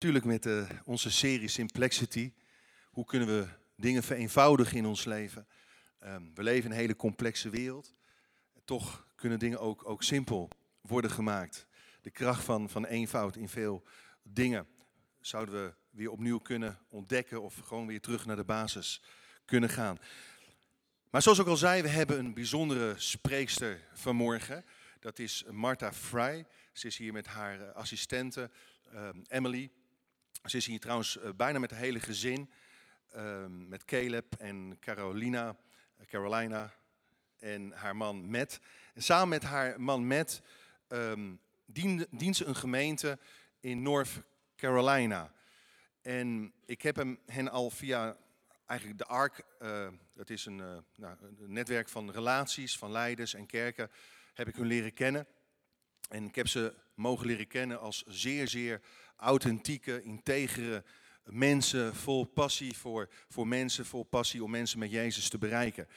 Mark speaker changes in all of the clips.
Speaker 1: Natuurlijk met eh, onze serie Simplexity. Hoe kunnen we dingen vereenvoudigen in ons leven? Ehm, we leven in een hele complexe wereld. Toch kunnen dingen ook, ook simpel worden gemaakt. De kracht van, van eenvoud in veel dingen zouden we weer opnieuw kunnen ontdekken of gewoon weer terug naar de basis kunnen gaan. Maar zoals ik al zei, we hebben een bijzondere spreekster vanmorgen. Dat is Marta Fry. Ze is hier met haar eh, assistente ehm, Emily. Ze is hier trouwens eh, bijna met het hele gezin. ehm, met Caleb en Carolina, eh, Carolina en haar man Matt. En samen met haar man Matt ehm dient, dient ze een gemeente in North Carolina. En ik heb hem, hen al via eigenlijk de ARC, eh, dat is een, eh, nou, een netwerk van relaties, van leiders en kerken, heb ik hun leren kennen. En ik heb ze mogen leren kennen als zeer, zeer authentieke, integere mensen, vol passie voor, voor mensen, vol passie om mensen met Jezus te bereiken.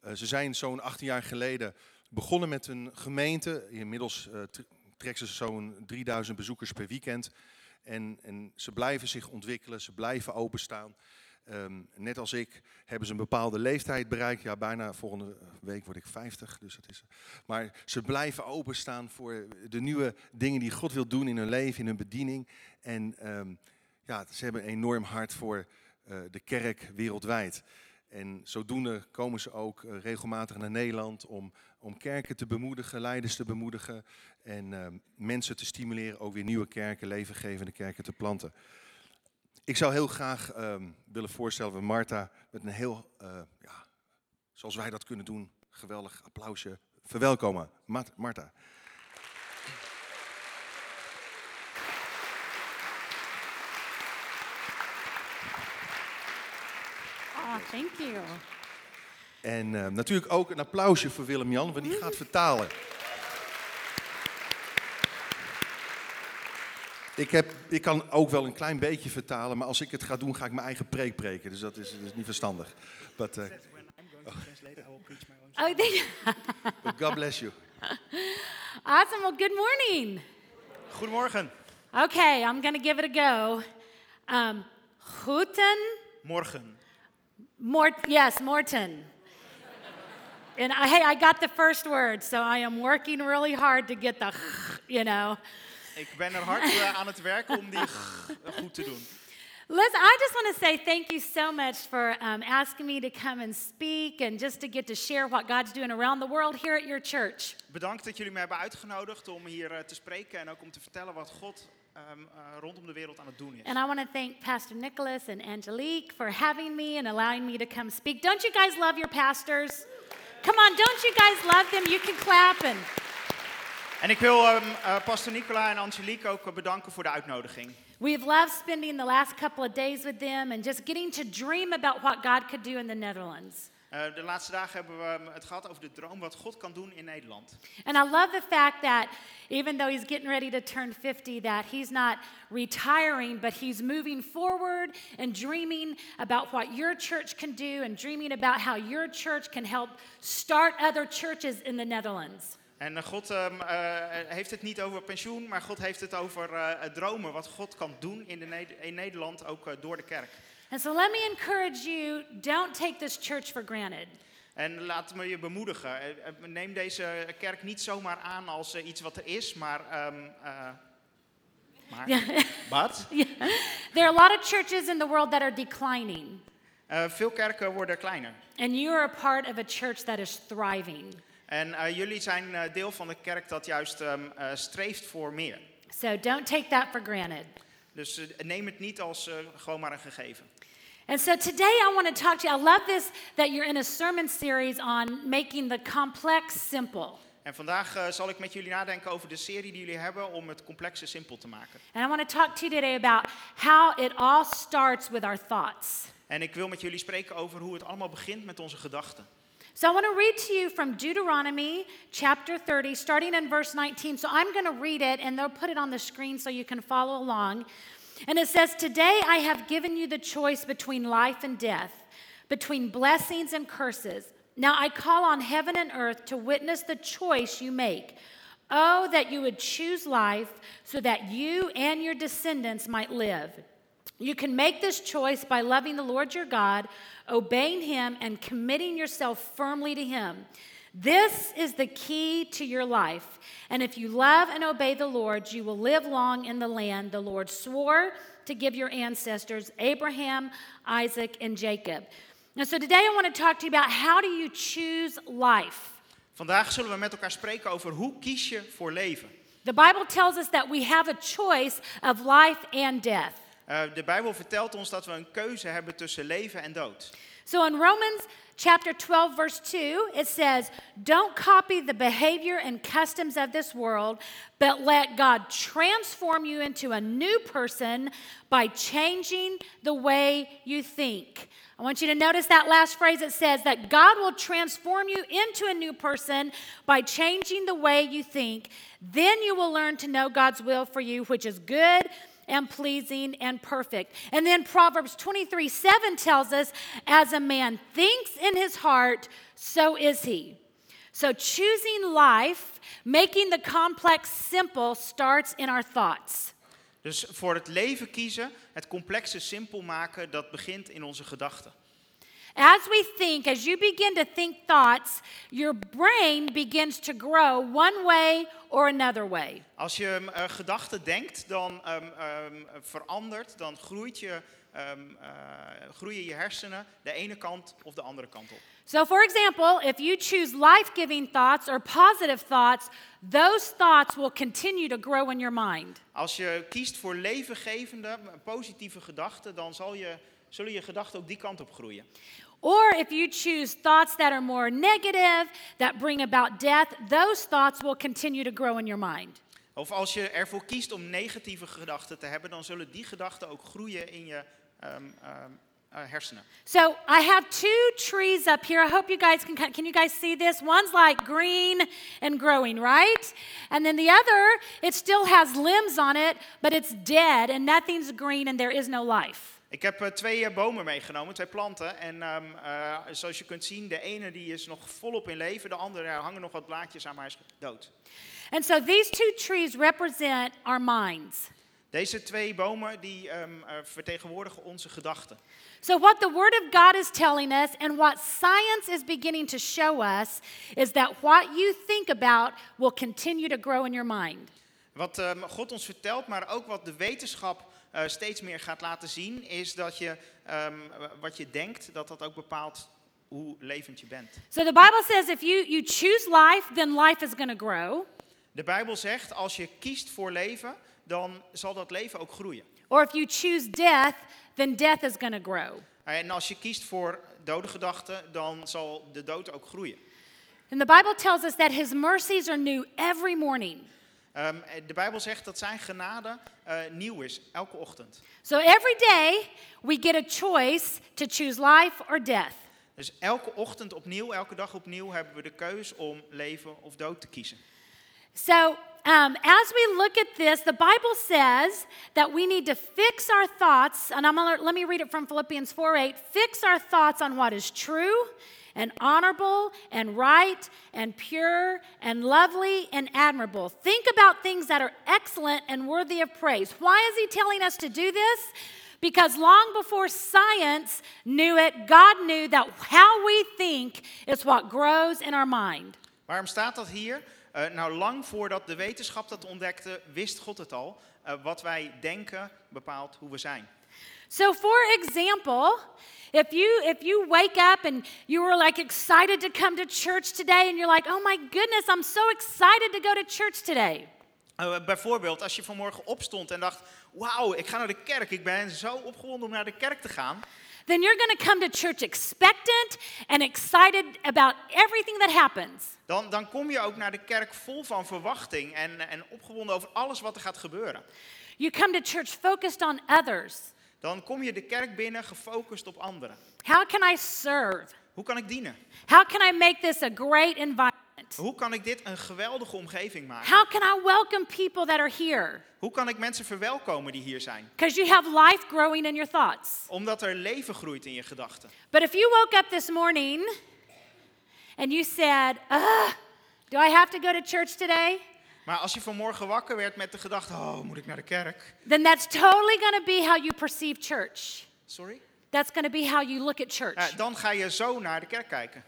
Speaker 1: Eh, ze zijn zo'n 18 jaar geleden begonnen met een gemeente. Inmiddels eh, tre- trekt ze zo'n 3000 bezoekers per weekend. En, en ze blijven zich ontwikkelen, ze blijven openstaan. Ehm, net als ik hebben ze een bepaalde leeftijd bereikt. Ja, bijna volgende week word ik 50, dus dat is maar ze blijven openstaan voor de nieuwe dingen die God wil doen in hun leven, in hun bediening. En ehm, ja, ze hebben een enorm hart voor eh, de kerk wereldwijd. En zodoende komen ze ook eh, regelmatig naar Nederland om, om kerken te bemoedigen, leiders te bemoedigen. En ehm, mensen te stimuleren ook weer nieuwe kerken, levengevende kerken te planten. Ik zou heel graag ehm, willen voorstellen we Marta met een heel, eh, ja, zoals wij dat kunnen doen, geweldig applausje verwelkomen. Mart- Marta.
Speaker 2: Ah, thank you.
Speaker 1: En eh, natuurlijk ook een applausje voor Willem-Jan, want die gaat vertalen. Ik, heb, ik kan ook wel een klein beetje vertalen, maar als ik het ga doen, ga ik mijn eigen preek preken. Dus dat is, dat is niet verstandig. But, eh,
Speaker 3: When I'm going to translate, I will preach my own.
Speaker 2: Oh, thank you.
Speaker 1: but God bless you.
Speaker 2: Awesome. Well, good morning.
Speaker 3: Goedemorgen.
Speaker 2: Okay, I'm going to give it a go. Um, guten
Speaker 3: Morgen.
Speaker 2: Mort. Yes, Morten. And I, hey, I got the first word, so I am working really hard to get the, you know.
Speaker 3: Ik ben er hard eh, aan het werk om die g- goed te doen.
Speaker 2: Liz, I just want to say thank you so much for um, asking me to come and speak and just to get to share what God's doing around the world here at your church.
Speaker 3: Bedankt dat jullie me hebben uitgenodigd om hier eh, te spreken en ook om te vertellen wat God ehm, eh, rondom de wereld aan het doen is.
Speaker 2: And I want to thank Pastor Nicholas and Angelique for having me and allowing me to come speak. Don't you guys love your pastors? Come on, don't you guys love them? You can clap and
Speaker 3: En ik wil ehm eh, pastor Nicola en Angelique ook eh, bedanken voor de uitnodiging.
Speaker 2: we've loved spending the last couple of days with them and just getting to dream about what God could do in the Netherlands.
Speaker 3: Eh, de laatste dagen hebben we ehm, het gehad over de droom wat God kan doen in Nederland.
Speaker 2: And I love the fact that even though he's getting ready to turn 50 that he's not retiring but he's moving forward and dreaming about what your church can do and dreaming about how your church can help start other churches in the Netherlands.
Speaker 3: En eh, God ehm, eh, heeft het niet over pensioen, maar God heeft het over eh, het dromen wat God kan doen in, de Ne- in Nederland, ook eh, door de kerk.
Speaker 2: And so let me encourage you don't take this church for granted.
Speaker 3: En laat me je bemoedigen. Eh, eh, Neem deze kerk niet zomaar aan als eh, iets wat er is, maar. ehm, eh, maar. Wat?
Speaker 2: There are a lot of churches in the world that are declining,
Speaker 3: Eh, veel kerken worden kleiner.
Speaker 2: and you are a part of a church that is thriving.
Speaker 3: En eh, jullie zijn eh, deel van de kerk dat juist ehm, eh, streeft voor meer.
Speaker 2: So don't take that for granted.
Speaker 3: Dus eh, neem het niet als eh, gewoon maar een gegeven.
Speaker 2: And so today I want to talk to you. I love this that you're in a sermon series on making the complex simple.
Speaker 3: En vandaag eh, zal ik met jullie nadenken over de serie die jullie hebben om het complexe simpel te maken.
Speaker 2: And I want to talk to you today about how it all starts with our thoughts.
Speaker 3: En ik wil met jullie spreken over hoe het allemaal begint met onze gedachten.
Speaker 2: So I want to read to you from Deuteronomy chapter 30, starting in verse 19. So I'm going to read it and they'll put it on the screen so you can follow along. And it says, Today I have given you the choice between life and death, between blessings and curses. Now I call on heaven and earth to witness the choice you make. Oh, that you would choose life so that you and your descendants might live. You can make this choice by loving the Lord your God, obeying him, and committing yourself firmly to him. This is the key to your life. And if you love and obey the Lord, you will live long in the land the Lord swore to give your ancestors, Abraham, Isaac, and Jacob. Now, so today I want to talk to you about how do you choose life?
Speaker 3: Vandaag zullen we met elkaar spreken over hoe kies je voor leven.
Speaker 2: The Bible tells us that we have a choice of life and death.
Speaker 3: Eh, de Bijbel vertelt ons dat we een keuze hebben tussen leven en dood.
Speaker 2: So in Romans chapter 12, verse 2, it says, Don't copy the behavior and customs of this world, but let God transform you into a new person by changing the way you think. I want you to notice that last phrase. It says that God will transform you into a new person by changing the way you think. Then you will learn to know God's will for you, which is good and pleasing and perfect. And then Proverbs 23 7 tells us, as a man thinks in his heart, so is he. So choosing life, making the complex simple, starts in our thoughts.
Speaker 3: Dus voor het leven kiezen, het complexe simpel maken, dat begint in onze gedachten.
Speaker 2: As we think, as you begin to think thoughts, your brain begins to grow one way or another way.
Speaker 3: Als je ehm, eh, gedachten denkt, dan ehm, ehm, verandert, dan groeit je, ehm, eh, groeien je hersenen de ene kant of de andere kant op.
Speaker 2: So, for example, if you choose life giving thoughts or positive thoughts, those thoughts will continue to grow in your mind.
Speaker 3: Als je kiest voor levengevende, positieve gedachten, dan zal je, zullen je gedachten ook die kant op groeien.
Speaker 2: Or if you choose thoughts that are more negative, that bring about death, those thoughts will continue to grow in your mind.
Speaker 3: Of als je ervoor kiest om negatieve gedachten te hebben, dan zullen die gedachten ook groeien in je ehm, ehm, eh, hersenen.
Speaker 2: So I have two trees up here. I hope you guys can can you guys see this? One's like green and growing, right? And then the other, it still has limbs on it, but it's dead and nothing's green and there is no life.
Speaker 3: Ik heb eh, twee eh, bomen meegenomen, twee planten. En ehm, eh, zoals je kunt zien, de ene die is nog volop in leven, de andere er hangen nog wat blaadjes aan, maar hij is dood.
Speaker 2: And so these two trees represent our minds.
Speaker 3: Deze twee bomen die ehm, eh, vertegenwoordigen onze gedachten.
Speaker 2: So, what the Word of God is telling us and what science is beginning to show us is that what you think about will continue to grow in your mind.
Speaker 3: Wat ehm, God ons vertelt, maar ook wat de wetenschap eh, steeds meer gaat laten zien, is dat je ehm, wat je denkt, dat dat ook bepaalt hoe levend je bent.
Speaker 2: So, the Bible says if you, you choose life, then life is going to grow.
Speaker 3: De Bijbel zegt, als je kiest voor leven, dan zal dat leven ook groeien.
Speaker 2: Or if you choose death, then death is going to grow.
Speaker 3: En als je kiest voor dode gedachten, dan zal de dood ook groeien.
Speaker 2: And the Bible tells us that His mercies are new every morning.
Speaker 3: Ehm, de Bijbel zegt dat zijn genade eh, nieuw is, elke ochtend.
Speaker 2: So, every day we get a choice to choose life or death.
Speaker 3: Dus elke ochtend opnieuw, elke dag opnieuw, hebben we de keus om leven of dood te kiezen.
Speaker 2: So, um, as we look at this, the Bible says that we need to fix our thoughts, and I'm gonna, let me read it from Philippians 4:8. Fix our thoughts on what is true and honorable and right and pure and lovely and admirable. Think about things that are excellent and worthy of praise. Why is he telling us to do this? Because long before science knew it, God knew that how we think is what grows in our mind.
Speaker 3: Waarom staat dat hier? Eh, nou, lang voordat de wetenschap dat ontdekte, wist God het al. Eh, wat wij denken bepaalt hoe we zijn.
Speaker 2: So for example, if you if you wake up and you were like excited to come to church today and you're like, "Oh my goodness, I'm so excited to go to church today."
Speaker 3: Eh, bijvoorbeeld, als je vanmorgen opstond en dacht: Wauw, ik ga naar de kerk. Ik ben zo opgewonden om naar de kerk te gaan.
Speaker 2: Then you're going to come to church expectant and excited about everything that happens.
Speaker 3: Dan, dan kom je ook naar de kerk vol van verwachting en, en opgewonden over alles wat er gaat gebeuren.
Speaker 2: You come to church focused on others.
Speaker 3: Dan kom je de kerk binnen gefocust op anderen.
Speaker 2: How can I serve?
Speaker 3: Hoe kan ik dienen?
Speaker 2: How can I make this a great environment?
Speaker 3: Hoe kan ik dit een geweldige omgeving maken?
Speaker 2: How can I welcome people that are here?
Speaker 3: Hoe kan ik mensen verwelkomen die hier zijn?
Speaker 2: Because you have life growing in your thoughts.
Speaker 3: Omdat er leven groeit in je gedachten.
Speaker 2: But if you woke up this morning and you said, Ugh, do I have to go to church today?
Speaker 3: Maar als je vanmorgen wakker werd met de gedachte, oh, moet ik naar de kerk?
Speaker 2: then that's totally going to be how you perceive church.
Speaker 3: Sorry?
Speaker 2: That's going to be how you look at church.
Speaker 3: Eh, dan ga je zo naar de kerk kijken.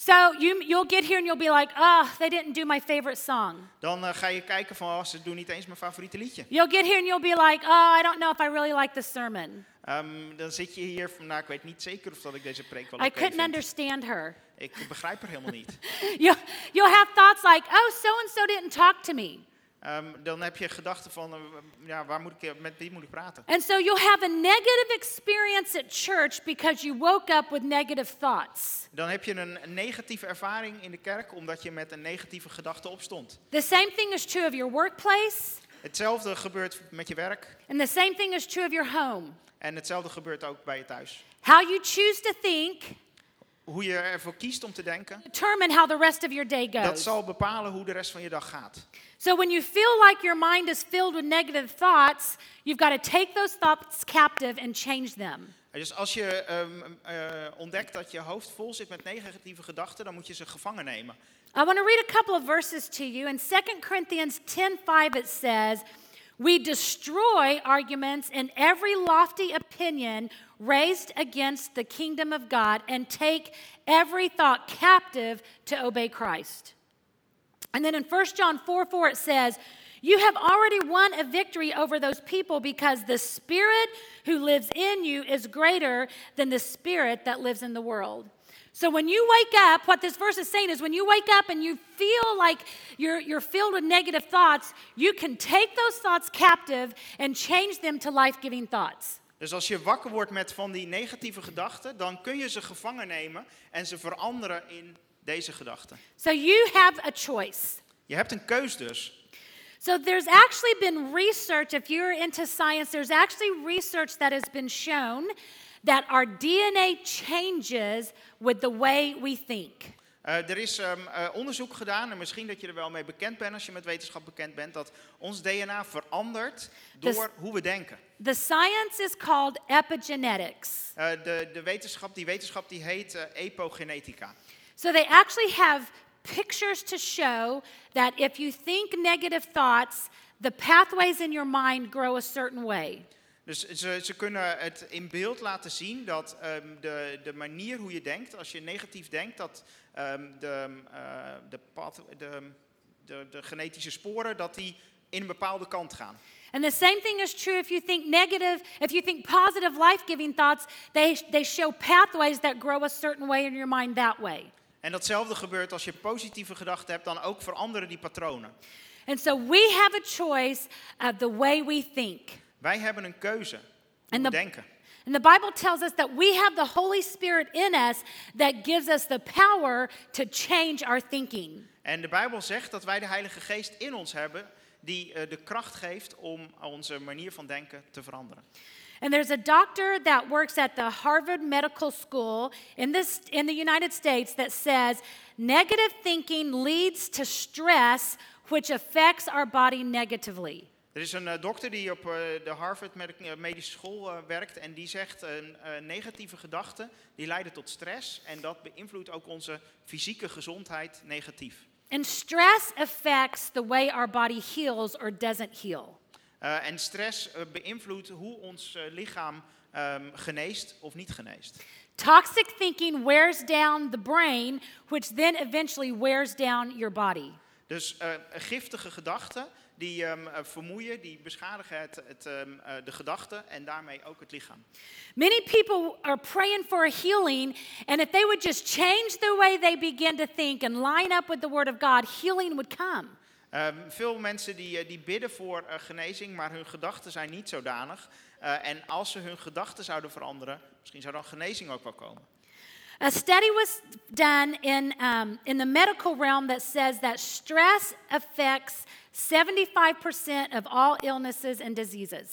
Speaker 2: So you, you'll get here and you'll be like, oh, they didn't do my favorite song.
Speaker 3: Dan eh, ga je kijken van, oh, ze doen niet eens mijn favoriete liedje.
Speaker 2: You'll get here and you'll be like, oh, I don't know if I really like this sermon.
Speaker 3: Ehm, dan zit je hier van, nou, ik weet niet zeker of dat ik deze preek wel
Speaker 2: I
Speaker 3: oké
Speaker 2: couldn't
Speaker 3: vind.
Speaker 2: understand her.
Speaker 3: Ik begrijp er helemaal niet.
Speaker 2: You'll, you'll have thoughts like, oh, so and so didn't talk to me.
Speaker 3: Ehm, dan heb je gedachten van, eh, ja, waar moet ik, met wie moet ik praten?
Speaker 2: And so you'll have a negative experience at church because you woke up with negative thoughts.
Speaker 3: Dan heb je een negatieve ervaring in de kerk omdat je met een negatieve gedachte opstond.
Speaker 2: The same thing is true of your workplace,
Speaker 3: Hetzelfde gebeurt met je werk
Speaker 2: and the same thing is true of your home.
Speaker 3: en hetzelfde gebeurt ook bij je thuis.
Speaker 2: How you choose to think
Speaker 3: Hoe je ervoor kiest om te denken,
Speaker 2: determine how the rest of your day
Speaker 3: dat
Speaker 2: goes.
Speaker 3: zal bepalen hoe de rest van je dag gaat.
Speaker 2: So when you feel like your mind is filled with negative thoughts, you've got to take those thoughts captive and change them.
Speaker 3: Dus als je ehm, eh, ontdekt dat je hoofd vol zit met negatieve gedachten, dan moet je ze gevangen nemen.
Speaker 2: I want to read a couple of verses to you. In 2 Corinthians 10:5 it says, "We destroy arguments and every lofty opinion raised against the kingdom of God and take every thought captive to obey Christ." And then in 1 John 4 4, it says, You have already won a victory over those people because the spirit who lives in you is greater than the spirit that lives in the world. So when you wake up, what this verse is saying is when you wake up and you feel like you're, you're filled with negative thoughts, you can take those thoughts captive and change them to life giving thoughts.
Speaker 3: Dus als je wakker wordt met van die negatieve gedachten, dan kun je ze gevangen nemen en ze veranderen in deze gedachten.
Speaker 2: So you have a choice.
Speaker 3: Je hebt een keus dus.
Speaker 2: So there's actually been research, if you're into science, there's actually research that has been shown that our DNA changes with the way we think.
Speaker 3: Eh, er is ehm, eh, onderzoek gedaan, en misschien dat je er wel mee bekend bent als je met wetenschap bekend bent, dat ons DNA verandert door
Speaker 2: Dus-
Speaker 3: hoe we denken.
Speaker 2: The science is called epigenetics.
Speaker 3: Eh, de, de wetenschap, die wetenschap die heet eh, epogenetica.
Speaker 2: So they actually have pictures to show that if you think negative thoughts, the pathways in your mind grow a certain way.
Speaker 3: Dus ze, ze kunnen het in beeld laten zien dat ehm, de, de manier hoe je denkt, als je negatief denkt, dat ehm, de, eh, de, pad, de, de, de genetische sporen dat die in een bepaalde kant gaan.
Speaker 2: And the same thing is true if you think negative, if you think positive life giving thoughts, they, they show pathways that grow a certain way in your mind that way.
Speaker 3: En datzelfde gebeurt als je positieve gedachten hebt, dan ook veranderen die patronen.
Speaker 2: And so we have a choice of the way we think.
Speaker 3: Wij hebben een keuze hoe
Speaker 2: En
Speaker 3: we
Speaker 2: de-
Speaker 3: denken.
Speaker 2: And the Bible tells us that we have the Holy Spirit in us that gives us the power to change our thinking.
Speaker 3: En de Bijbel zegt dat wij de Heilige Geest in ons hebben die eh, de kracht geeft om onze manier van denken te veranderen.
Speaker 2: And there's a doctor that works at the Harvard Medical School in, this, in the United States that says negative thinking leads to stress, which affects our body negatively.
Speaker 3: Er is een eh, dokter die op eh, de Harvard Med- eh, Medische School eh, werkt en die zegt een eh, negatieve gedachten die leiden tot stress en dat beïnvloedt ook onze fysieke gezondheid negatief.
Speaker 2: And stress affects the way our body heals or doesn't heal.
Speaker 3: Eh, en stress eh, beïnvloedt hoe ons eh, lichaam ehm, geneest of niet geneest.
Speaker 2: Toxic thinking wears down the brain, which then eventually wears down your body.
Speaker 3: Dus eh, giftige gedachten die ehm, eh, vermoeien, die beschadigen het, het, ehm, eh, de gedachten en daarmee ook het lichaam.
Speaker 2: Many people are praying for a healing, and if they would just change the way they begin to think and line up with the Word of God, healing would come.
Speaker 3: Ehm, veel mensen die, eh, die bidden voor eh, genezing, maar hun gedachten zijn niet zodanig. Eh, en als ze hun gedachten zouden veranderen, misschien zou dan genezing ook wel komen.
Speaker 2: A study was done in, um, in the medical realm that says that stress affects 75% of all illnesses and diseases.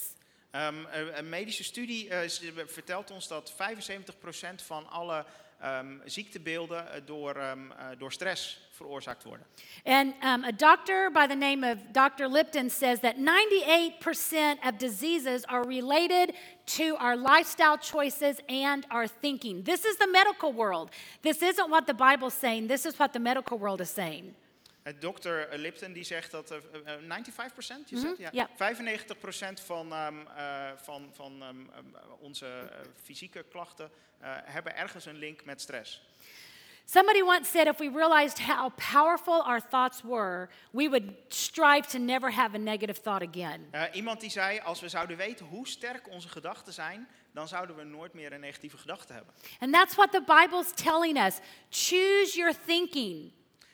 Speaker 3: Ehm, een een medische studie eh, s- vertelt ons dat 75% van alle ehm, ziektebeelden eh, door, ehm, eh, door stress veroorzaakt worden.
Speaker 2: And um, a doctor by the name of Dr. Lipton says that 98% of diseases are related to our lifestyle choices and our thinking. This is the medical world. This isn't what the Bible's saying, this is what the medical world is saying.
Speaker 3: Eh, Dr. Lipton die zegt dat eh, eh, 95%, je
Speaker 2: Mhm,
Speaker 3: zegt, ja,
Speaker 2: ja.
Speaker 3: 95% van, ehm, eh, van, van ehm, ehm, onze eh, fysieke klachten eh, hebben ergens een link met stress.
Speaker 2: Somebody once said if we realized how powerful our thoughts were, we would strive to never have a negative thought again.
Speaker 3: Eh, iemand die zei, als we zouden weten hoe sterk onze gedachten zijn, dan zouden we nooit meer een negatieve gedachte hebben.
Speaker 2: And that's what the Bible's telling us. Choose your thinking.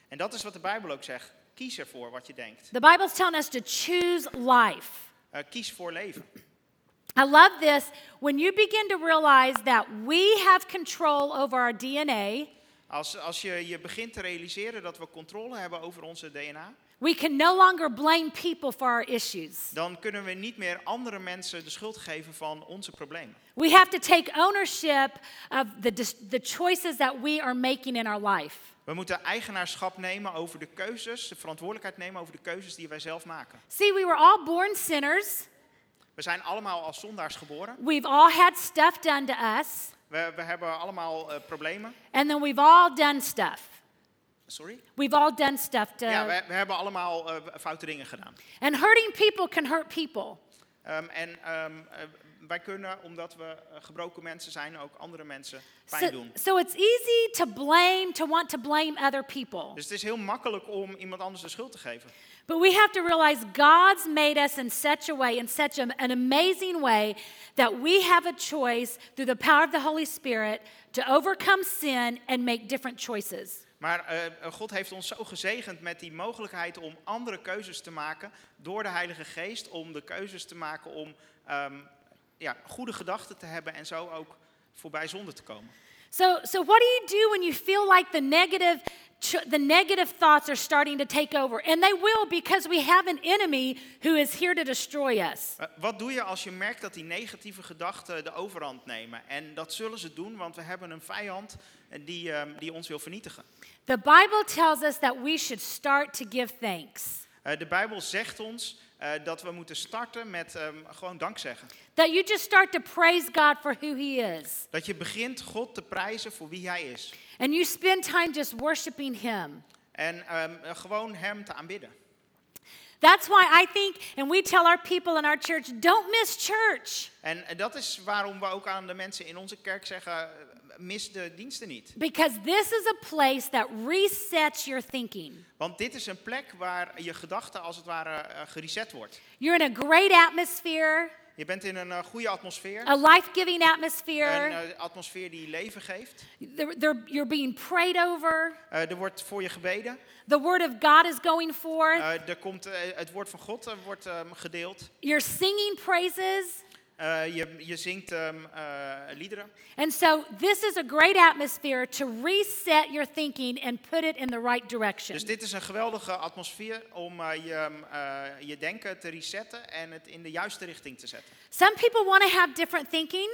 Speaker 3: En dat is wat de Bijbel ook zegt. Kies ervoor wat je denkt.
Speaker 2: The Bible's telling us to choose life.
Speaker 3: Eh, kies voor leven.
Speaker 2: I love this. When you begin to realize that we have control over our DNA,
Speaker 3: Als, als je je begint te realiseren dat we controle hebben over onze DNA,
Speaker 2: we can no longer blame people for our issues.
Speaker 3: dan kunnen we niet meer andere mensen de schuld geven van onze problemen.
Speaker 2: We have to take ownership of the, dis- the choices that we are making in our life.
Speaker 3: We moeten eigenaarschap nemen over de keuzes, de verantwoordelijkheid nemen over de keuzes die wij zelf maken.
Speaker 2: See, we were all born sinners.
Speaker 3: We zijn allemaal als zondaars geboren.
Speaker 2: We've all had stuff done to us,
Speaker 3: We, we hebben allemaal eh, problemen.
Speaker 2: and then we've all done stuff.
Speaker 3: Sorry?
Speaker 2: We've all done stuff to.
Speaker 3: Ja, we, we hebben allemaal eh, foute dingen gedaan.
Speaker 2: And hurting people can hurt people.
Speaker 3: Ehm, en ehm, eh, wij kunnen, omdat we eh, gebroken mensen zijn, ook andere mensen pijn
Speaker 2: So,
Speaker 3: doen.
Speaker 2: so it's easy to blame, to want to blame other people.
Speaker 3: Dus het is heel makkelijk om iemand anders de schuld te geven.
Speaker 2: But we have to realize God's made us in such a way, in such a- an amazing way, that we have a choice through the power of the Holy Spirit to overcome sin and make different choices.
Speaker 3: Maar eh, God heeft ons zo gezegend met die mogelijkheid om andere keuzes te maken door de Heilige Geest. Om de keuzes te maken om ehm, ja, goede gedachten te hebben en zo ook voorbij zonde te komen.
Speaker 2: So, so what do you do when you feel like the negative, ch- the negative thoughts are starting to take over? And they will because we have an enemy who is here to destroy us.
Speaker 3: Eh, wat doe je als je merkt dat die negatieve gedachten de overhand nemen? En dat zullen ze doen, want we hebben een vijand eh, die, ehm, die ons wil vernietigen.
Speaker 2: The Bible tells us that we should start to give thanks.
Speaker 3: Eh, de Bijbel zegt ons eh, dat we moeten starten met ehm, gewoon dankzeggen.
Speaker 2: That you just start to praise God for who He is.
Speaker 3: Dat je begint God te prijzen voor wie Hij is.
Speaker 2: And you spend time just worshiping Him.
Speaker 3: En ehm, eh, gewoon Hem te aanbidden.
Speaker 2: That's why I think, and we tell our people in our church, don't miss church
Speaker 3: En eh, dat is waarom we ook aan de mensen in onze kerk zeggen, eh, mis de diensten niet.
Speaker 2: because this is a place that resets your thinking.
Speaker 3: Want dit is een plek waar je gedachte als het ware eh, gereset wordt.
Speaker 2: You're in a great atmosphere,
Speaker 3: Je bent in een eh, goede atmosfeer.
Speaker 2: a life giving
Speaker 3: Een
Speaker 2: atmosphere.
Speaker 3: eh, atmosfeer die leven geeft.
Speaker 2: They're- they're- you're being prayed over.
Speaker 3: Eh, er wordt voor je gebeden.
Speaker 2: The word of God is going forth.
Speaker 3: Eh, er komt, eh, het woord van God eh, wordt ehm, gedeeld.
Speaker 2: You're singing praises.
Speaker 3: Eh, je, je zingt ehm, eh, liederen.
Speaker 2: And so, this is a great atmosphere to reset your thinking and put it in the right direction.
Speaker 3: Dus dit is een geweldige atmosfeer om eh, je, ehm, eh, je denken te resetten en het in de juiste richting te zetten.
Speaker 2: Some people want to have different thinking.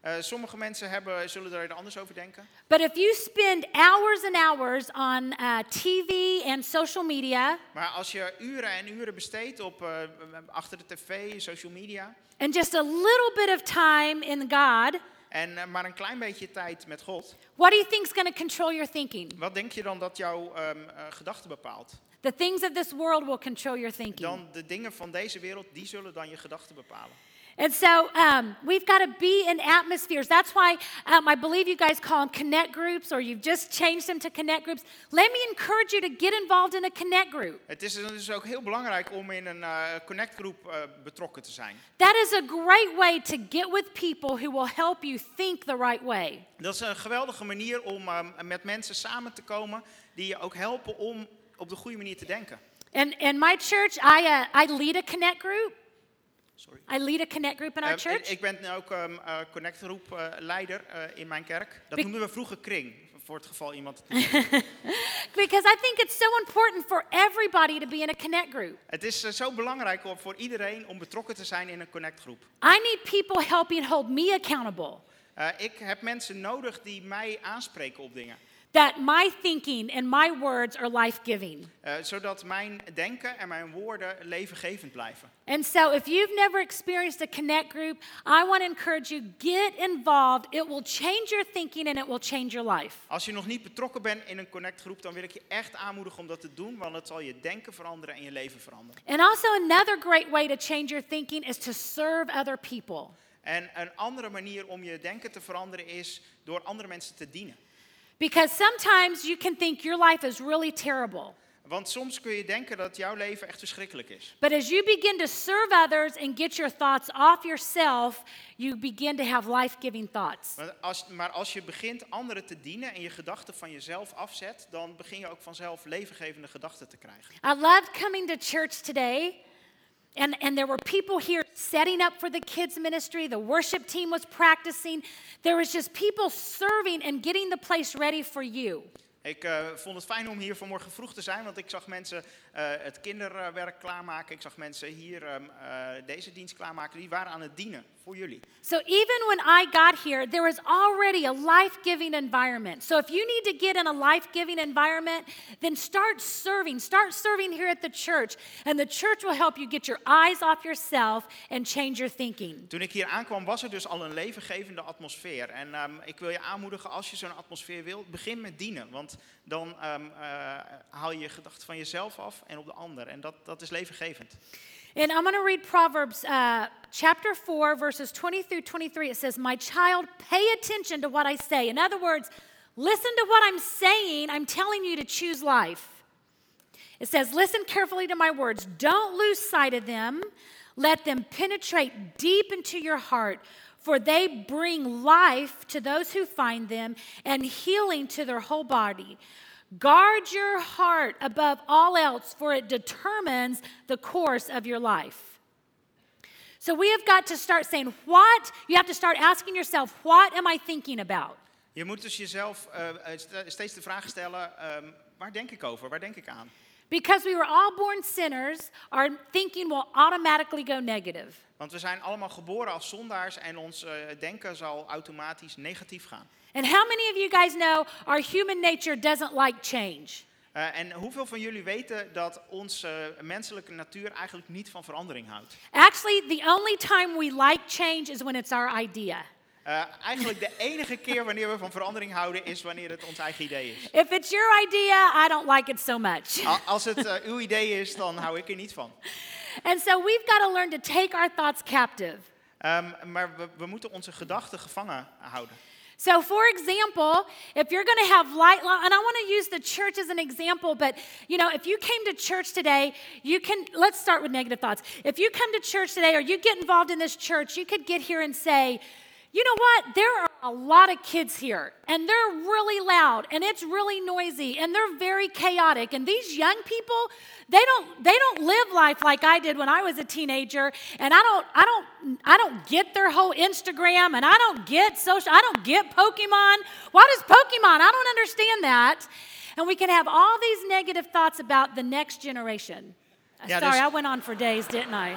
Speaker 3: Eh, sommige mensen hebben, zullen er anders over denken.
Speaker 2: But if you spend hours and hours on uh, TV and social media
Speaker 3: Maar als je uren en uren besteedt op, eh, achter de tv, social media...
Speaker 2: and just a little bit of time in God,
Speaker 3: en eh, maar een klein beetje tijd met God...
Speaker 2: what do you think is going to control your thinking?
Speaker 3: wat denk je dan dat jouw ehm eh, gedachten bepaalt?
Speaker 2: The things of this world will control your thinking.
Speaker 3: Dan de dingen van deze wereld, die zullen dan je gedachten bepalen.
Speaker 2: And so um, we've got to be in atmospheres. That's why um, I believe you guys call them connect groups or you've just changed them to connect groups. Let me encourage you to get involved in a connect group.
Speaker 3: Het is dus ook heel belangrijk om in een eh, connectgroep eh, betrokken te zijn.
Speaker 2: That is a great way to get with people who will help you think the right way.
Speaker 3: Dat is een geweldige manier om ehm, met mensen samen te komen die je ook helpen om op de goede manier te denken.
Speaker 2: And in my church, I, uh, I lead a connect group.
Speaker 3: Sorry.
Speaker 2: I lead a connect group in our
Speaker 3: Ehm, ik,
Speaker 2: church.
Speaker 3: ik ben nu ook ehm eh connectgroep eh, leider eh, in mijn kerk. Dat
Speaker 2: Be-
Speaker 3: noemden we vroeger kring, voor het geval iemand. het-
Speaker 2: because I think it's so important for everybody to be in a connect group.
Speaker 3: het is eh, zo belangrijk om- voor iedereen om betrokken te zijn in een connectgroep.
Speaker 2: I need people helping hold me accountable.
Speaker 3: Eh, ik heb mensen nodig die mij aanspreken op dingen.
Speaker 2: that my thinking and my words are life giving.
Speaker 3: Eh, zodat mijn denken en mijn woorden levengevend blijven.
Speaker 2: And so, if you've never experienced a connect group, I want to encourage you get involved. It will change your thinking and it will change your life.
Speaker 3: Als je nog niet betrokken bent in een connectgroep, dan wil ik je echt aanmoedigen om dat te doen, want het zal je denken veranderen en je leven veranderen.
Speaker 2: And also, another great way to change your thinking is to serve other people.
Speaker 3: En een andere manier om je denken te veranderen is door andere mensen te dienen.
Speaker 2: Because sometimes you can think your life is really terrible.
Speaker 3: Want soms kun je denken dat jouw leven echt verschrikkelijk is.
Speaker 2: But as you begin to serve others and get your thoughts off yourself, you begin to have life giving thoughts.
Speaker 3: Maar als, maar als je begint anderen te dienen en je gedachten van jezelf afzet, dan begin je ook vanzelf levengevende gedachten te krijgen.
Speaker 2: I loved coming to church today. And, and there were people here setting up for the kids' ministry. The worship team was practicing. There was just people serving and getting the place ready for you.
Speaker 3: Ik eh, vond het fijn om hier vanmorgen vroeg te zijn, want ik zag mensen eh, het kinderwerk klaarmaken. Ik zag mensen hier ehm, eh, deze dienst klaarmaken. Die waren aan het dienen voor jullie.
Speaker 2: So even when I got here, there was already a life giving environment. So if you need to get in a life giving environment, then start serving. Start serving here at the church, and the church will help you get your eyes off yourself and change your thinking.
Speaker 3: Toen ik hier aankwam, was er dus al een levengevende atmosfeer. En ehm, ik wil je aanmoedigen, als je zo'n atmosfeer wilt, begin met dienen. Want dan ehm, eh, haal je je gedachten van jezelf af en op de ander. En dat, dat is levengevend.
Speaker 2: And I'm going to read Proverbs uh, chapter 4, verses 20 through 23. It says, My child, pay attention to what I say. In other words, listen to what I'm saying. I'm telling you to choose life. It says, Listen carefully to my words. Don't lose sight of them. Let them penetrate deep into your heart, for they bring life to those who find them and healing to their whole body. Guard your heart above all else, for it determines the course of your life. So we have got to start saying, What? You have to start asking yourself, What am I thinking about?
Speaker 3: Je moet dus jezelf eh, eh, st- steeds de vraag stellen, ehm, waar denk ik over? Waar denk ik aan?
Speaker 2: Because we were all born sinners, our thinking will automatically go negative.
Speaker 3: Want we zijn allemaal geboren als zondaars en ons eh, denken zal automatisch negatief gaan.
Speaker 2: And how many of you guys know our human nature doesn't like change?
Speaker 3: Eh, en hoeveel van jullie weten dat onze eh, menselijke natuur eigenlijk niet van verandering houdt?
Speaker 2: Actually, the only time we like change is when it's our idea.
Speaker 3: Eh, eigenlijk de enige keer wanneer we van verandering houden is wanneer het ons eigen idee is.
Speaker 2: If it's your idea, I don't like it so much.
Speaker 3: A- Als het eh, uw idee is, dan hou ik er niet van.
Speaker 2: And so we've got to learn to take our thoughts captive.
Speaker 3: Ehm, maar we, we moeten onze gedachten gevangen houden.
Speaker 2: So, for example, if you're going to have light, lo- and I want to use the church as an example, but you know, if you came to church today, you can, let's start with negative thoughts. If you come to church today or you get involved in this church, you could get here and say, you know what, there are a lot of kids here, and they're really loud, and it's really noisy, and they're very chaotic. And these young people, they don't, they don't live life like I did when I was a teenager, and I don't, I don't, I don't get their whole Instagram, and I don't get social, I don't get Pokemon. What is Pokemon? I don't understand that. And we can have all these negative thoughts about the next generation. Uh,
Speaker 3: Yeah,
Speaker 2: Sorry,
Speaker 3: there's- Uh,
Speaker 2: I went on for days, didn't I?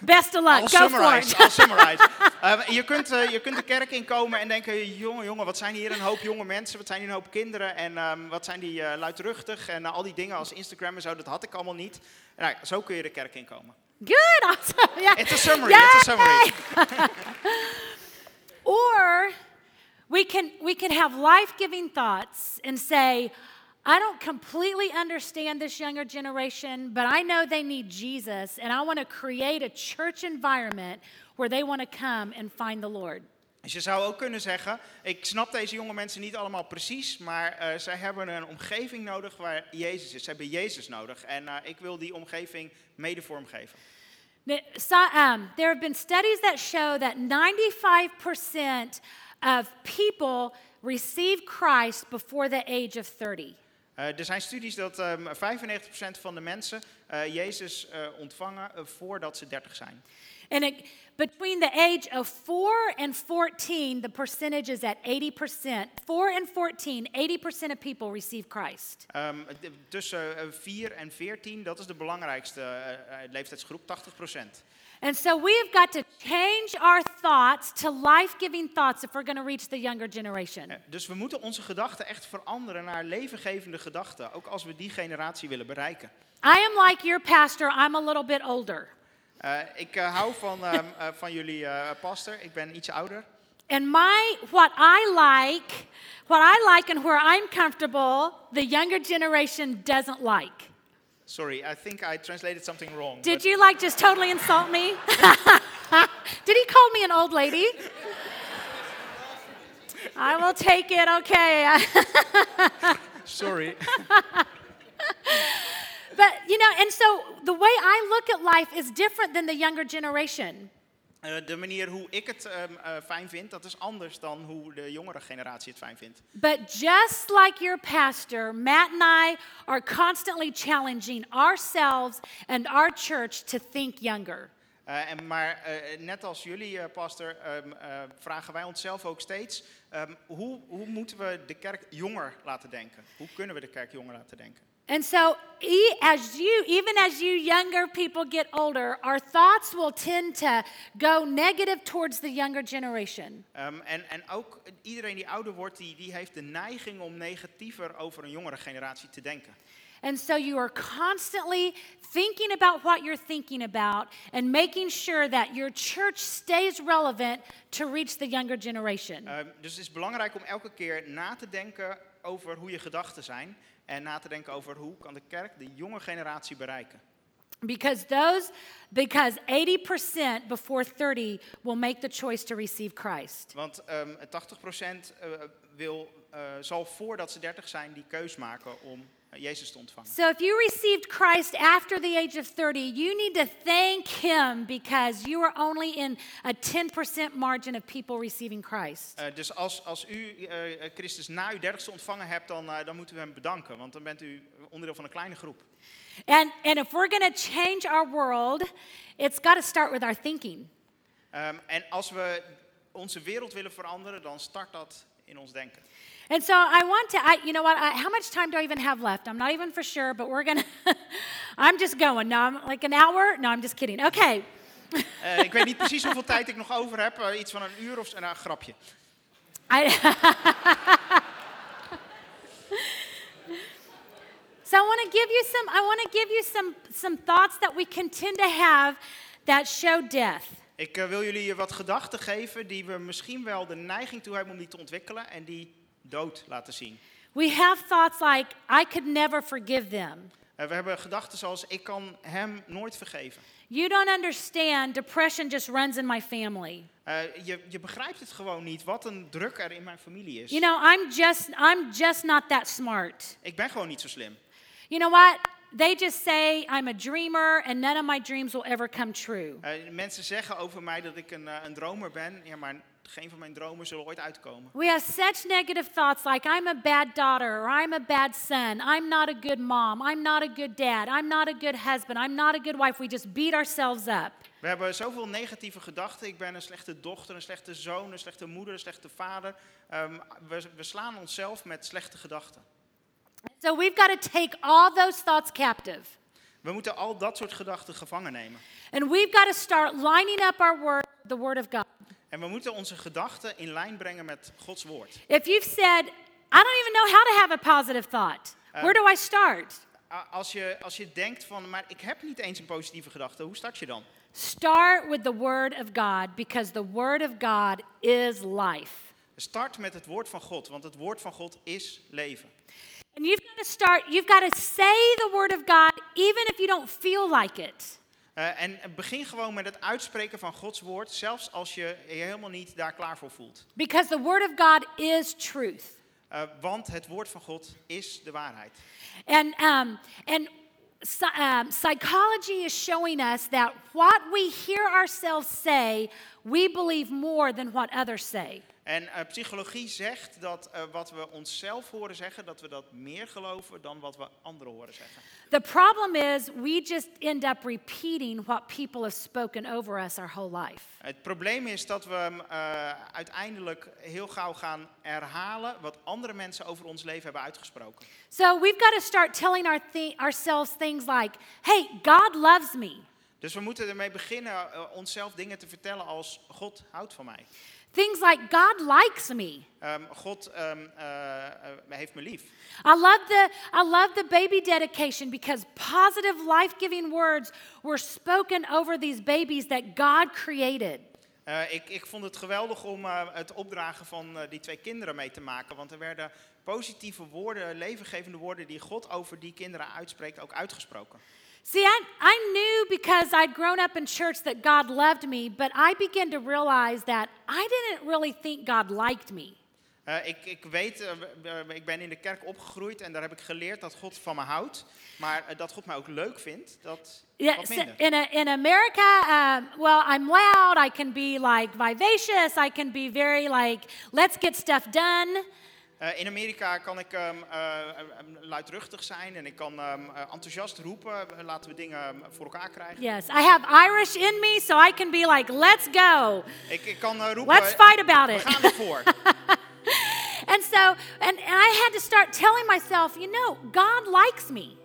Speaker 2: Best of luck. Go
Speaker 3: I'll
Speaker 2: for it.
Speaker 3: summarize, I'll summarize. Ehm, je, kunt, eh, je kunt de kerk inkomen en denken, jongen, jongen, wat zijn hier een hoop jonge mensen, wat zijn hier een hoop kinderen en ehm, wat zijn die eh, luidruchtig en eh, al die dingen als Instagram en zo, dat had ik allemaal niet. Nou, zo kun je de kerk inkomen.
Speaker 2: Good, awesome. Yeah.
Speaker 3: It's a summary, it's a summary.
Speaker 2: Or we can we can have life-giving thoughts and say, I don't completely understand this younger generation, but I know they need Jesus, and I want to create a church environment where they want to come and find the Lord.
Speaker 3: Dus je zou ook kunnen zeggen, ik snap deze jonge mensen niet allemaal precies, maar eh, zij hebben een omgeving nodig waar Jezus is. Ze hebben Jezus nodig en eh, ik wil die omgeving mede vormgeven.
Speaker 2: Now, so- um, there have been studies that show that 95% of people receive Christ before the age of 30.
Speaker 3: Eh, er zijn studies dat ehm, 95% van de mensen eh, Jezus eh, ontvangen eh, voordat ze 30 zijn.
Speaker 2: And it, between the age of 4 and 14, the percentage is at 80%. 4 and 14, 80% of people receive Christ.
Speaker 3: Ehm, d- tussen eh, 4 en 14, dat is de belangrijkste eh, eh, leeftijdsgroep, 80%.
Speaker 2: And so we've got to change our thoughts to life giving thoughts if we're going to reach the younger generation.
Speaker 3: Eh, Dus we moeten onze gedachten echt veranderen naar levengevende gedachten, ook als we die generatie willen bereiken.
Speaker 2: I am like your pastor, I'm a little bit older.
Speaker 3: Eh, ik eh, hou van, ehm, eh, van jullie eh pastor, ik ben iets ouder.
Speaker 2: And my what I like, what I like and where I'm comfortable, the younger generation doesn't like.
Speaker 3: Sorry, I think I translated something wrong.
Speaker 2: Did
Speaker 3: but-
Speaker 2: you like just totally insult me? Did he call me an old lady? I will take it, okay.
Speaker 3: Sorry.
Speaker 2: but you know, and so the way I look at life is different than the younger generation.
Speaker 3: Eh, de manier hoe ik het ehm, eh, fijn vind, dat is anders dan hoe de jongere generatie het fijn vindt.
Speaker 2: But just like your pastor, Matt and I are constantly challenging ourselves and our church to think younger.
Speaker 3: Eh, en, maar eh, net als jullie, eh, pastor, ehm, eh, vragen wij onszelf ook steeds: ehm, hoe, hoe moeten we de kerk jonger laten denken? Hoe kunnen we de kerk jonger laten denken?
Speaker 2: And so, e- as you, even as you younger people get older, our thoughts will tend to go negative towards the younger generation.
Speaker 3: Ehm, en, en ook iedereen die ouder wordt, die, die heeft de neiging om negatiever over een jongere generatie te denken.
Speaker 2: And so, you are constantly thinking about what you're thinking about and making sure that your church stays relevant to reach the younger generation.
Speaker 3: Ehm, dus het is belangrijk om elke keer na te denken over hoe je gedachten zijn. En na te denken over hoe kan de kerk de jonge generatie bereiken.
Speaker 2: Because those, because 80% before 30 will make the choice to receive Christ.
Speaker 3: Want ehm 80% eh, wil, eh, zal voordat ze 30 zijn die keus maken om eh, Jezus te ontvangen.
Speaker 2: So if you received Christ after the age of 30, you need to thank Him because you are only in a 10% margin of people receiving Christ.
Speaker 3: Eh, dus als, als u eh, Christus na uw dertigste ontvangen hebt, dan, eh, dan moeten we hem bedanken. Want dan bent u onderdeel van een kleine groep.
Speaker 2: And, and if we're going to change our world, it's got to start with our thinking.
Speaker 3: Ehm, en als we onze wereld willen veranderen, dan start dat in ons denken.
Speaker 2: And so I want to, I, you know what, I, how much time do I even have left? I'm not even for sure, but we're going to, I'm just going. No, I'm like an hour. No, I'm just kidding. Okay.
Speaker 3: Eh, ik weet niet precies hoeveel tijd ik nog over heb. eh, iets van een uur of zo. Nou, een grapje.
Speaker 2: I so I want to give you some. I want to give you some some thoughts that we can tend to have that show death.
Speaker 3: Ik eh, wil jullie wat gedachten geven die we misschien wel de neiging toe hebben om die te ontwikkelen en die dood laten zien.
Speaker 2: We have thoughts like I could never forgive them.
Speaker 3: Eh, we hebben gedachten zoals ik kan hem nooit vergeven.
Speaker 2: You don't understand. Depression just runs in my family.
Speaker 3: Eh, je, je begrijpt het gewoon niet wat een druk er in mijn familie is.
Speaker 2: You know, I'm just I'm just not that smart.
Speaker 3: ik ben gewoon niet zo slim.
Speaker 2: You know what? They just say I'm a dreamer and none of my dreams will ever come true.
Speaker 3: Eh, mensen zeggen over mij dat ik een, eh, een dromer ben, ja, maar geen van mijn dromen zullen ooit uitkomen.
Speaker 2: We have such negative thoughts like, I'm a bad daughter, or I'm a bad son, I'm not a good mom, I'm not a good dad, I'm not a good husband, I'm not a good wife. We just beat ourselves up.
Speaker 3: We hebben zoveel negatieve gedachten. Ik ben een slechte dochter, een slechte zoon, een slechte moeder, een slechte vader. Ehm, we, we slaan onszelf met slechte gedachten.
Speaker 2: So we've got to take all those thoughts captive.
Speaker 3: We moeten al dat soort gedachten gevangen nemen.
Speaker 2: And we've got to start lining up our word, the word of God.
Speaker 3: En we moeten onze gedachten in lijn brengen met Gods woord.
Speaker 2: If you've said, I don't even know how to have a positive thought, where do I start?
Speaker 3: A- Als je, als je denkt van, maar ik heb niet eens een positieve gedachte, hoe start je dan?
Speaker 2: Start with the word of God because the word of God is life.
Speaker 3: Start met het woord van God, want het woord van God is leven.
Speaker 2: And you've got to start, you've got to say the word of God even if you don't feel like it.
Speaker 3: Eh, en begin gewoon met het uitspreken van Gods woord, zelfs als je je helemaal niet daar klaar voor voelt.
Speaker 2: Because the word of God is truth.
Speaker 3: Eh, want het woord van God is de waarheid.
Speaker 2: And, um, and psy- um, psychology is showing us that what we hear ourselves say, we believe more than what others say.
Speaker 3: En eh, psychologie zegt dat eh, wat we onszelf horen zeggen, dat we dat meer geloven dan wat we anderen horen zeggen.
Speaker 2: The problem is, we just end up repeating what people have spoken over us our whole life.
Speaker 3: Het probleem is dat we hem, eh, uiteindelijk heel gauw gaan herhalen wat andere mensen over ons leven hebben uitgesproken.
Speaker 2: So we've got to start telling our thi- ourselves things like, hey, God loves me.
Speaker 3: Dus we moeten ermee beginnen eh, onszelf dingen te vertellen als God houdt van mij.
Speaker 2: Things like God likes me.
Speaker 3: Ehm, God ehm, eh, eh, heeft me lief.
Speaker 2: I love the I love the baby dedication because positive life-giving words were spoken over these babies that God created.
Speaker 3: Eh, ik, ik vond het geweldig om eh, het opdragen van eh, die twee kinderen mee te maken. Want er werden positieve woorden, levengevende woorden die God over die kinderen uitspreekt, ook uitgesproken.
Speaker 2: See, I, I knew because I'd grown up in church that God loved me, but I began to realize that I didn't really think God liked me.
Speaker 3: Eh, ik, ik weet, eh, w- eh, ik ben in de kerk opgegroeid en daar heb ik geleerd dat God van me houdt. Maar eh, dat God mij ook leuk vindt, dat
Speaker 2: Yeah,
Speaker 3: wat
Speaker 2: so
Speaker 3: minder.
Speaker 2: in, a, in America, um, well, I'm loud. I can be like vivacious. I can be very like, let's get stuff done.
Speaker 3: Eh, in Amerika kan ik ehm, eh, eh, luidruchtig zijn en ik kan ehm, eh, enthousiast roepen. eh, Laten we dingen voor elkaar krijgen.
Speaker 2: Yes, I have Irish in me, so I can be like, let's go.
Speaker 3: Ik, ik kan eh, roepen,
Speaker 2: Let's fight about
Speaker 3: we
Speaker 2: it.
Speaker 3: gaan ervoor.
Speaker 2: And so, and, and I had to start telling myself, you know, God likes me.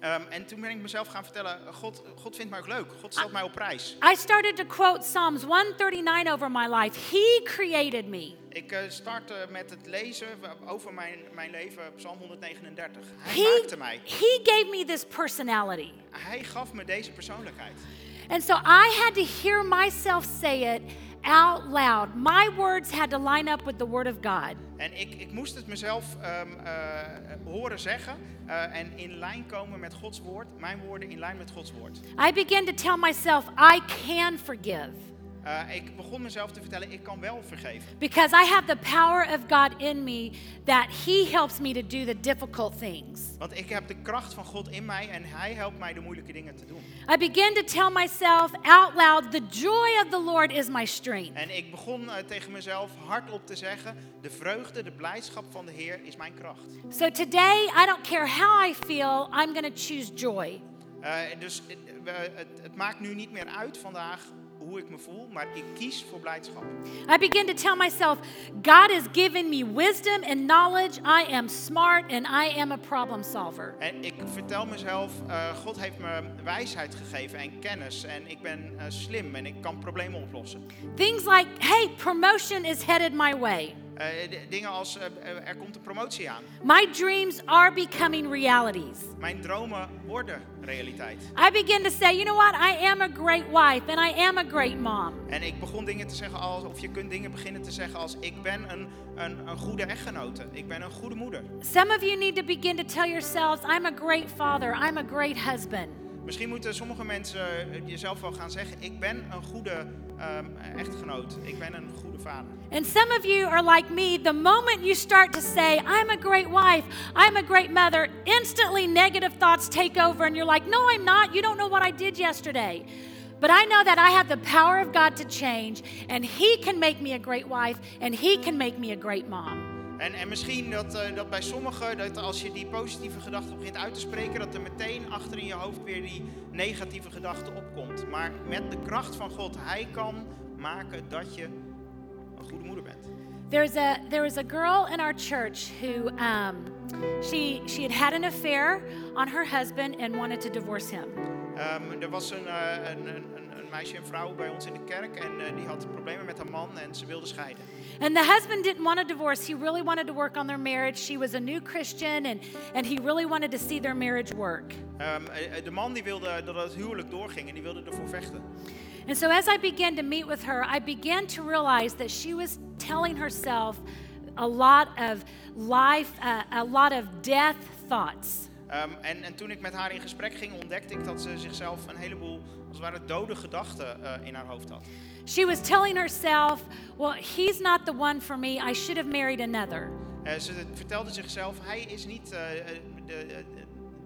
Speaker 3: Ehm, en toen ben ik mezelf gaan vertellen, God, God vindt mij ook leuk. God stelt mij op prijs.
Speaker 2: I started to quote Psalms 139 over my life. He created me.
Speaker 3: Ik eh, startte met het lezen over mijn, mijn leven, Psalm 139. Hij
Speaker 2: He,
Speaker 3: maakte mij.
Speaker 2: he gave me this personality.
Speaker 3: Hij gaf me deze persoonlijkheid.
Speaker 2: And so I had to hear myself say it out loud. My words had to line up with the Word of God.
Speaker 3: En ik, ik moest het mezelf ehm, eh, horen zeggen eh, en in lijn komen met Gods woord. Mijn woorden in lijn met Gods woord.
Speaker 2: I began to tell myself, I can forgive
Speaker 3: Eh, ik begon mezelf te vertellen, ik kan wel vergeven.
Speaker 2: because I have the power of God in me that He helps me to do the difficult things.
Speaker 3: Want ik heb de kracht van God in mij en Hij helpt mij de moeilijke dingen te doen.
Speaker 2: I began to tell myself out loud, the joy of the Lord is my strength.
Speaker 3: En ik begon eh, tegen mezelf hardop te zeggen: De vreugde, de blijdschap van de Heer is mijn kracht.
Speaker 2: So today, I don't care how I feel, I'm going to choose joy.
Speaker 3: Eh, dus eh, we- het, het maakt nu niet meer uit vandaag hoe ik me voel, maar ik kies voor blijdschap.
Speaker 2: I begin to tell myself, God has given me wisdom and knowledge. I am smart and I am a problem solver.
Speaker 3: En ik vertel mezelf: eh, God heeft me wijsheid gegeven en kennis. En ik ben eh, slim en ik kan problemen oplossen.
Speaker 2: Things like, hey, promotion is headed my way.
Speaker 3: Eh, d- dingen als: eh, eh, Er komt een promotie aan.
Speaker 2: My dreams are becoming realities.
Speaker 3: Mijn dromen worden realiteit.
Speaker 2: I begin to say, you know what? I am a great wife and I am a great mom.
Speaker 3: En ik begon dingen te zeggen als, of je kunt dingen beginnen te zeggen als ik ben een, een, een goede echtgenote, ik ben een goede moeder.
Speaker 2: Some of you need to begin to tell yourselves, I'm a great father, I'm a great husband.
Speaker 3: Misschien moeten sommige mensen eh, jezelf wel gaan zeggen, ik ben een goede ehm, echtgenoot, ik ben een goede vader.
Speaker 2: And some of you are like me, the moment you start to say, I'm a great wife, I'm a great mother, instantly negative thoughts take over, and you're like, No, I'm not. You don't know what I did yesterday. But I know that I have the power of God to change, and He can make me a great wife, and He can make me a great mom.
Speaker 3: En, en misschien dat, eh, dat bij sommigen, dat als je die positieve gedachten begint uit te spreken, dat er meteen achter in je hoofd weer die negatieve gedachte opkomt. Maar met de kracht van God, Hij kan maken dat je een goede moeder bent.
Speaker 2: There's a, there was a girl in our church who um, she, she had had an affair on her husband and wanted to divorce him.
Speaker 3: Ehm, er was een, eh, een, een, een- een meisje en vrouw bij ons in de kerk en eh, die had problemen met haar man en ze wilde scheiden.
Speaker 2: And the husband didn't want a divorce. He really wanted to work on their marriage. She was a new Christian and, and he really wanted to see their marriage work.
Speaker 3: Ehm, eh, eh, de man die wilde dat het huwelijk doorging en die wilde ervoor vechten.
Speaker 2: And so as I began to meet with her, I began to realize that she was telling herself a lot of life, uh, a lot of death thoughts.
Speaker 3: Ehm, en, en toen ik met haar in gesprek ging, ontdekte ik dat ze zichzelf een heleboel, als het ware, dode gedachten eh, in haar hoofd had.
Speaker 2: She was telling herself, well, he's not the one for me. I should have married another.
Speaker 3: Eh, ze vertelde zichzelf, hij is niet eh, eh, de, eh,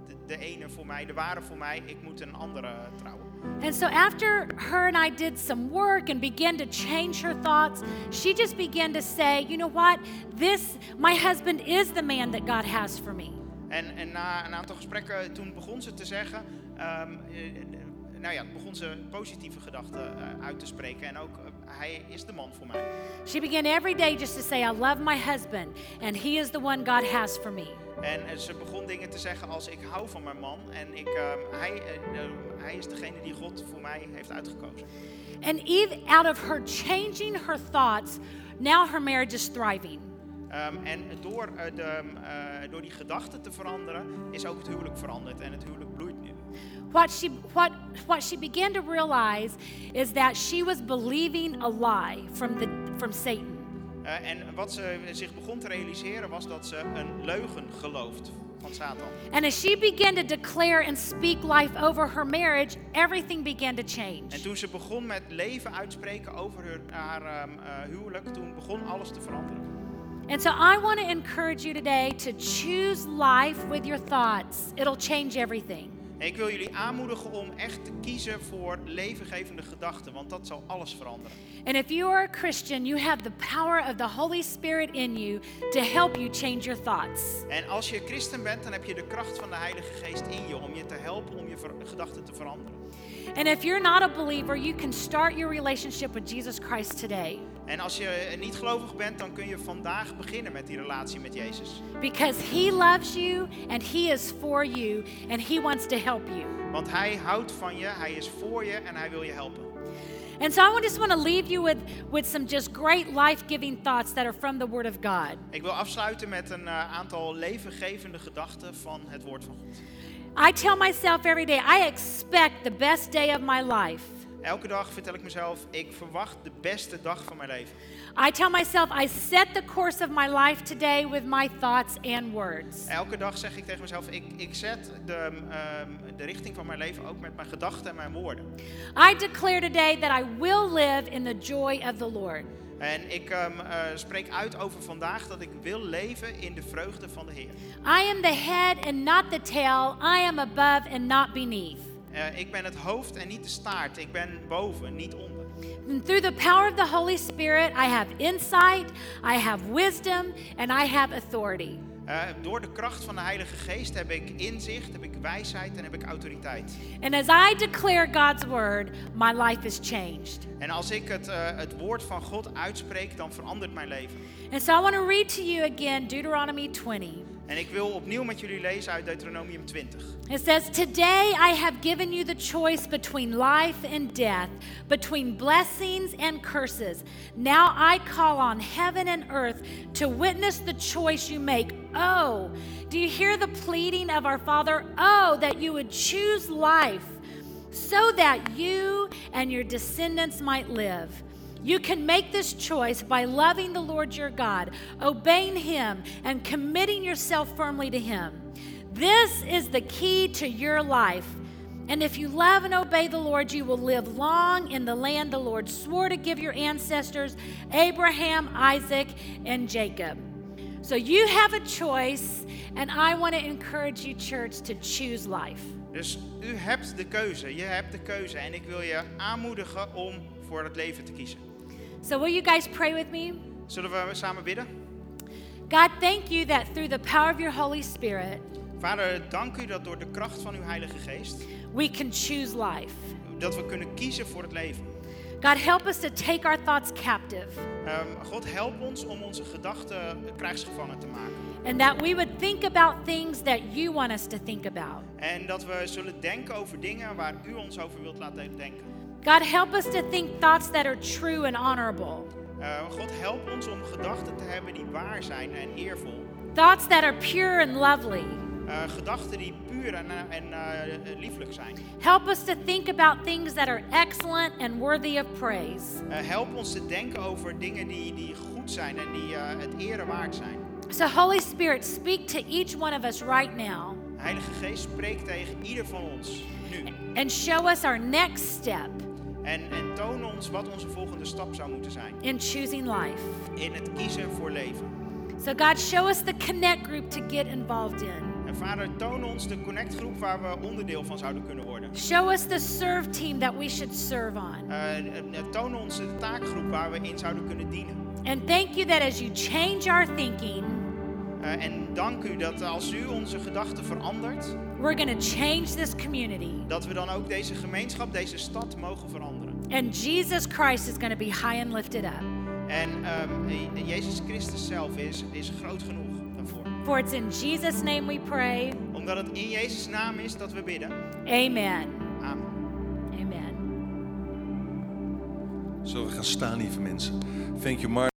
Speaker 3: de, de ene voor mij, de ware voor mij, ik moet een andere trouwen.
Speaker 2: And so after her and I did some work and began to change her thoughts, she just began to say, you know what? This, my husband is the man that God has for me.
Speaker 3: En, en na een aantal gesprekken, toen begon ze te zeggen, ehm, eh, eh, nou ja, begon ze positieve gedachten eh, uit te spreken. En ook, eh, hij is de man voor mij.
Speaker 2: She began every day just to say, I love my husband and he is the one God has for me.
Speaker 3: En eh, ze begon dingen te zeggen als ik hou van mijn man en ik, ehm, hij, eh, eh, hij is degene die God voor mij heeft uitgekozen.
Speaker 2: And Eve, out of her changing her thoughts, now her marriage is thriving.
Speaker 3: Ehm, en door, eh, de, ehm, eh, door die gedachten te veranderen is ook het huwelijk veranderd en het huwelijk bloeit nu.
Speaker 2: What she, what, what she began to realize is that she was believing a lie from, the, from Satan.
Speaker 3: Eh, en wat ze zich begon te realiseren was dat ze een leugen gelooft van Satan.
Speaker 2: And as she began to declare and speak life over her marriage, everything began to
Speaker 3: En
Speaker 2: change.
Speaker 3: toen ze begon met leven uitspreken over haar, haar ehm, eh, huwelijk, toen begon alles te veranderen.
Speaker 2: And so I want to encourage you today to choose life with your thoughts, it'll change everything.
Speaker 3: En ik wil jullie aanmoedigen om echt te kiezen voor levengevende gedachten, want dat zal alles veranderen.
Speaker 2: And if you are a Christian, you have the power of the Holy Spirit in you to help you change your thoughts.
Speaker 3: En als je christen bent, dan heb je de kracht van de Heilige Geest in je om je te helpen om je ver- gedachten te veranderen.
Speaker 2: And if you're not a believer, you can start your relationship with Jesus Christ today
Speaker 3: En als je niet gelovig bent, dan kun je vandaag beginnen met die relatie met Jezus.
Speaker 2: because He loves you and He is for you and He wants to help you.
Speaker 3: Want Hij houdt van je, Hij is voor je en Hij wil je helpen.
Speaker 2: And so I just want to leave you with, with some just great life giving thoughts that are from the Word of God.
Speaker 3: Ik wil afsluiten met een eh, aantal levengevende gedachten van het Woord van God.
Speaker 2: I tell myself every day, I expect the best day of my life.
Speaker 3: Elke dag vertel ik mezelf, ik verwacht de beste dag van mijn leven.
Speaker 2: I tell myself, I set the course of my life today with my thoughts and words.
Speaker 3: Elke dag zeg ik tegen mezelf, ik, ik zet de, ehm, de richting van mijn leven ook met mijn gedachten en mijn woorden.
Speaker 2: I declare today that I will live in the joy of the Lord.
Speaker 3: En ik ehm, eh, spreek uit over vandaag dat ik wil leven in de vreugde van de Heer.
Speaker 2: I am the head and not the tail. I am above and not beneath.
Speaker 3: Eh, ik ben het hoofd en niet de staart. Ik ben boven, niet onder.
Speaker 2: And through the power of the Holy Spirit, I have insight, I have wisdom, and I have authority.
Speaker 3: Eh, door de kracht van de Heilige Geest heb ik inzicht, heb ik wijsheid en heb ik autoriteit.
Speaker 2: And as I declare God's word, my life is changed.
Speaker 3: En als ik het, eh, het woord van God uitspreek, dan verandert mijn leven.
Speaker 2: And so I want to read to you again Deuteronomy 20.
Speaker 3: En ik wil opnieuw met jullie lezen uit Deuteronomium 20.
Speaker 2: It says, Today I have given you the choice between life and death, between blessings and curses. Now I call on heaven and earth to witness the choice you make. Oh, do you hear the pleading of our Father? Oh, that you would choose life so that you and your descendants might live. You can make this choice by loving the Lord your God, obeying Him, and committing yourself firmly to Him. This is the key to your life. And if you love and obey the Lord, you will live long in the land the Lord swore to give your ancestors, Abraham, Isaac, and Jacob. So you have a choice, and I want to encourage you, church, to choose life.
Speaker 3: Dus u hebt de keuze, je hebt de keuze. En ik wil je aanmoedigen om voor het leven te kiezen.
Speaker 2: So, will you guys pray with me?
Speaker 3: Zullen we samen bidden?
Speaker 2: God, thank you that through the power of your Holy Spirit,
Speaker 3: Vader, dank u dat door de kracht van uw Heilige Geest,
Speaker 2: we can choose life.
Speaker 3: dat we kunnen kiezen voor het leven.
Speaker 2: God, help us to take our thoughts captive
Speaker 3: Ehm, God, help ons om onze gedachten krijgsgevangen te maken.
Speaker 2: and that we would think about things that you want us to think about.
Speaker 3: En dat we zullen denken over dingen waar u ons over wilt laten denken.
Speaker 2: God, help us to think thoughts that are true and honorable,
Speaker 3: Eh, God, help ons om gedachten te hebben die waar zijn en eervol.
Speaker 2: thoughts that are pure and lovely.
Speaker 3: Eh, gedachten die puur en, eh, en eh, lieflijk zijn.
Speaker 2: Help us to think about things that are excellent and worthy of praise.
Speaker 3: Eh, help ons te denken over dingen die, die goed zijn en die eh, het eren waard zijn.
Speaker 2: So, Holy Spirit, speak to each one of us right now
Speaker 3: Heilige Geest, spreek tegen ieder van ons nu.
Speaker 2: and show us our next step
Speaker 3: En, en toon ons wat onze volgende stap zou moeten zijn.
Speaker 2: in choosing life.
Speaker 3: In het kiezen voor leven.
Speaker 2: So, God, show us the connect group to get involved in.
Speaker 3: En vader, toon ons de connectgroep waar we onderdeel van zouden kunnen worden.
Speaker 2: Show us the serve team that we should serve on.
Speaker 3: Eh, eh, toon ons de taakgroep waar we in zouden kunnen dienen.
Speaker 2: And thank you that as you change our thinking,
Speaker 3: Eh, en dank u dat als u onze gedachten verandert,
Speaker 2: we're going to change this community.
Speaker 3: dat we dan ook deze gemeenschap, deze stad mogen veranderen.
Speaker 2: And Jesus Christ is going to be high and lifted up.
Speaker 3: En ehm, Jezus Christus zelf is, is groot genoeg. daarvoor.
Speaker 2: For it's in Jesus' name we pray.
Speaker 3: Omdat het in Jezus' naam is dat we bidden.
Speaker 2: Amen.
Speaker 3: Amen.
Speaker 2: Amen.
Speaker 1: Zullen we gaan staan, lieve mensen? Thank you, Mark.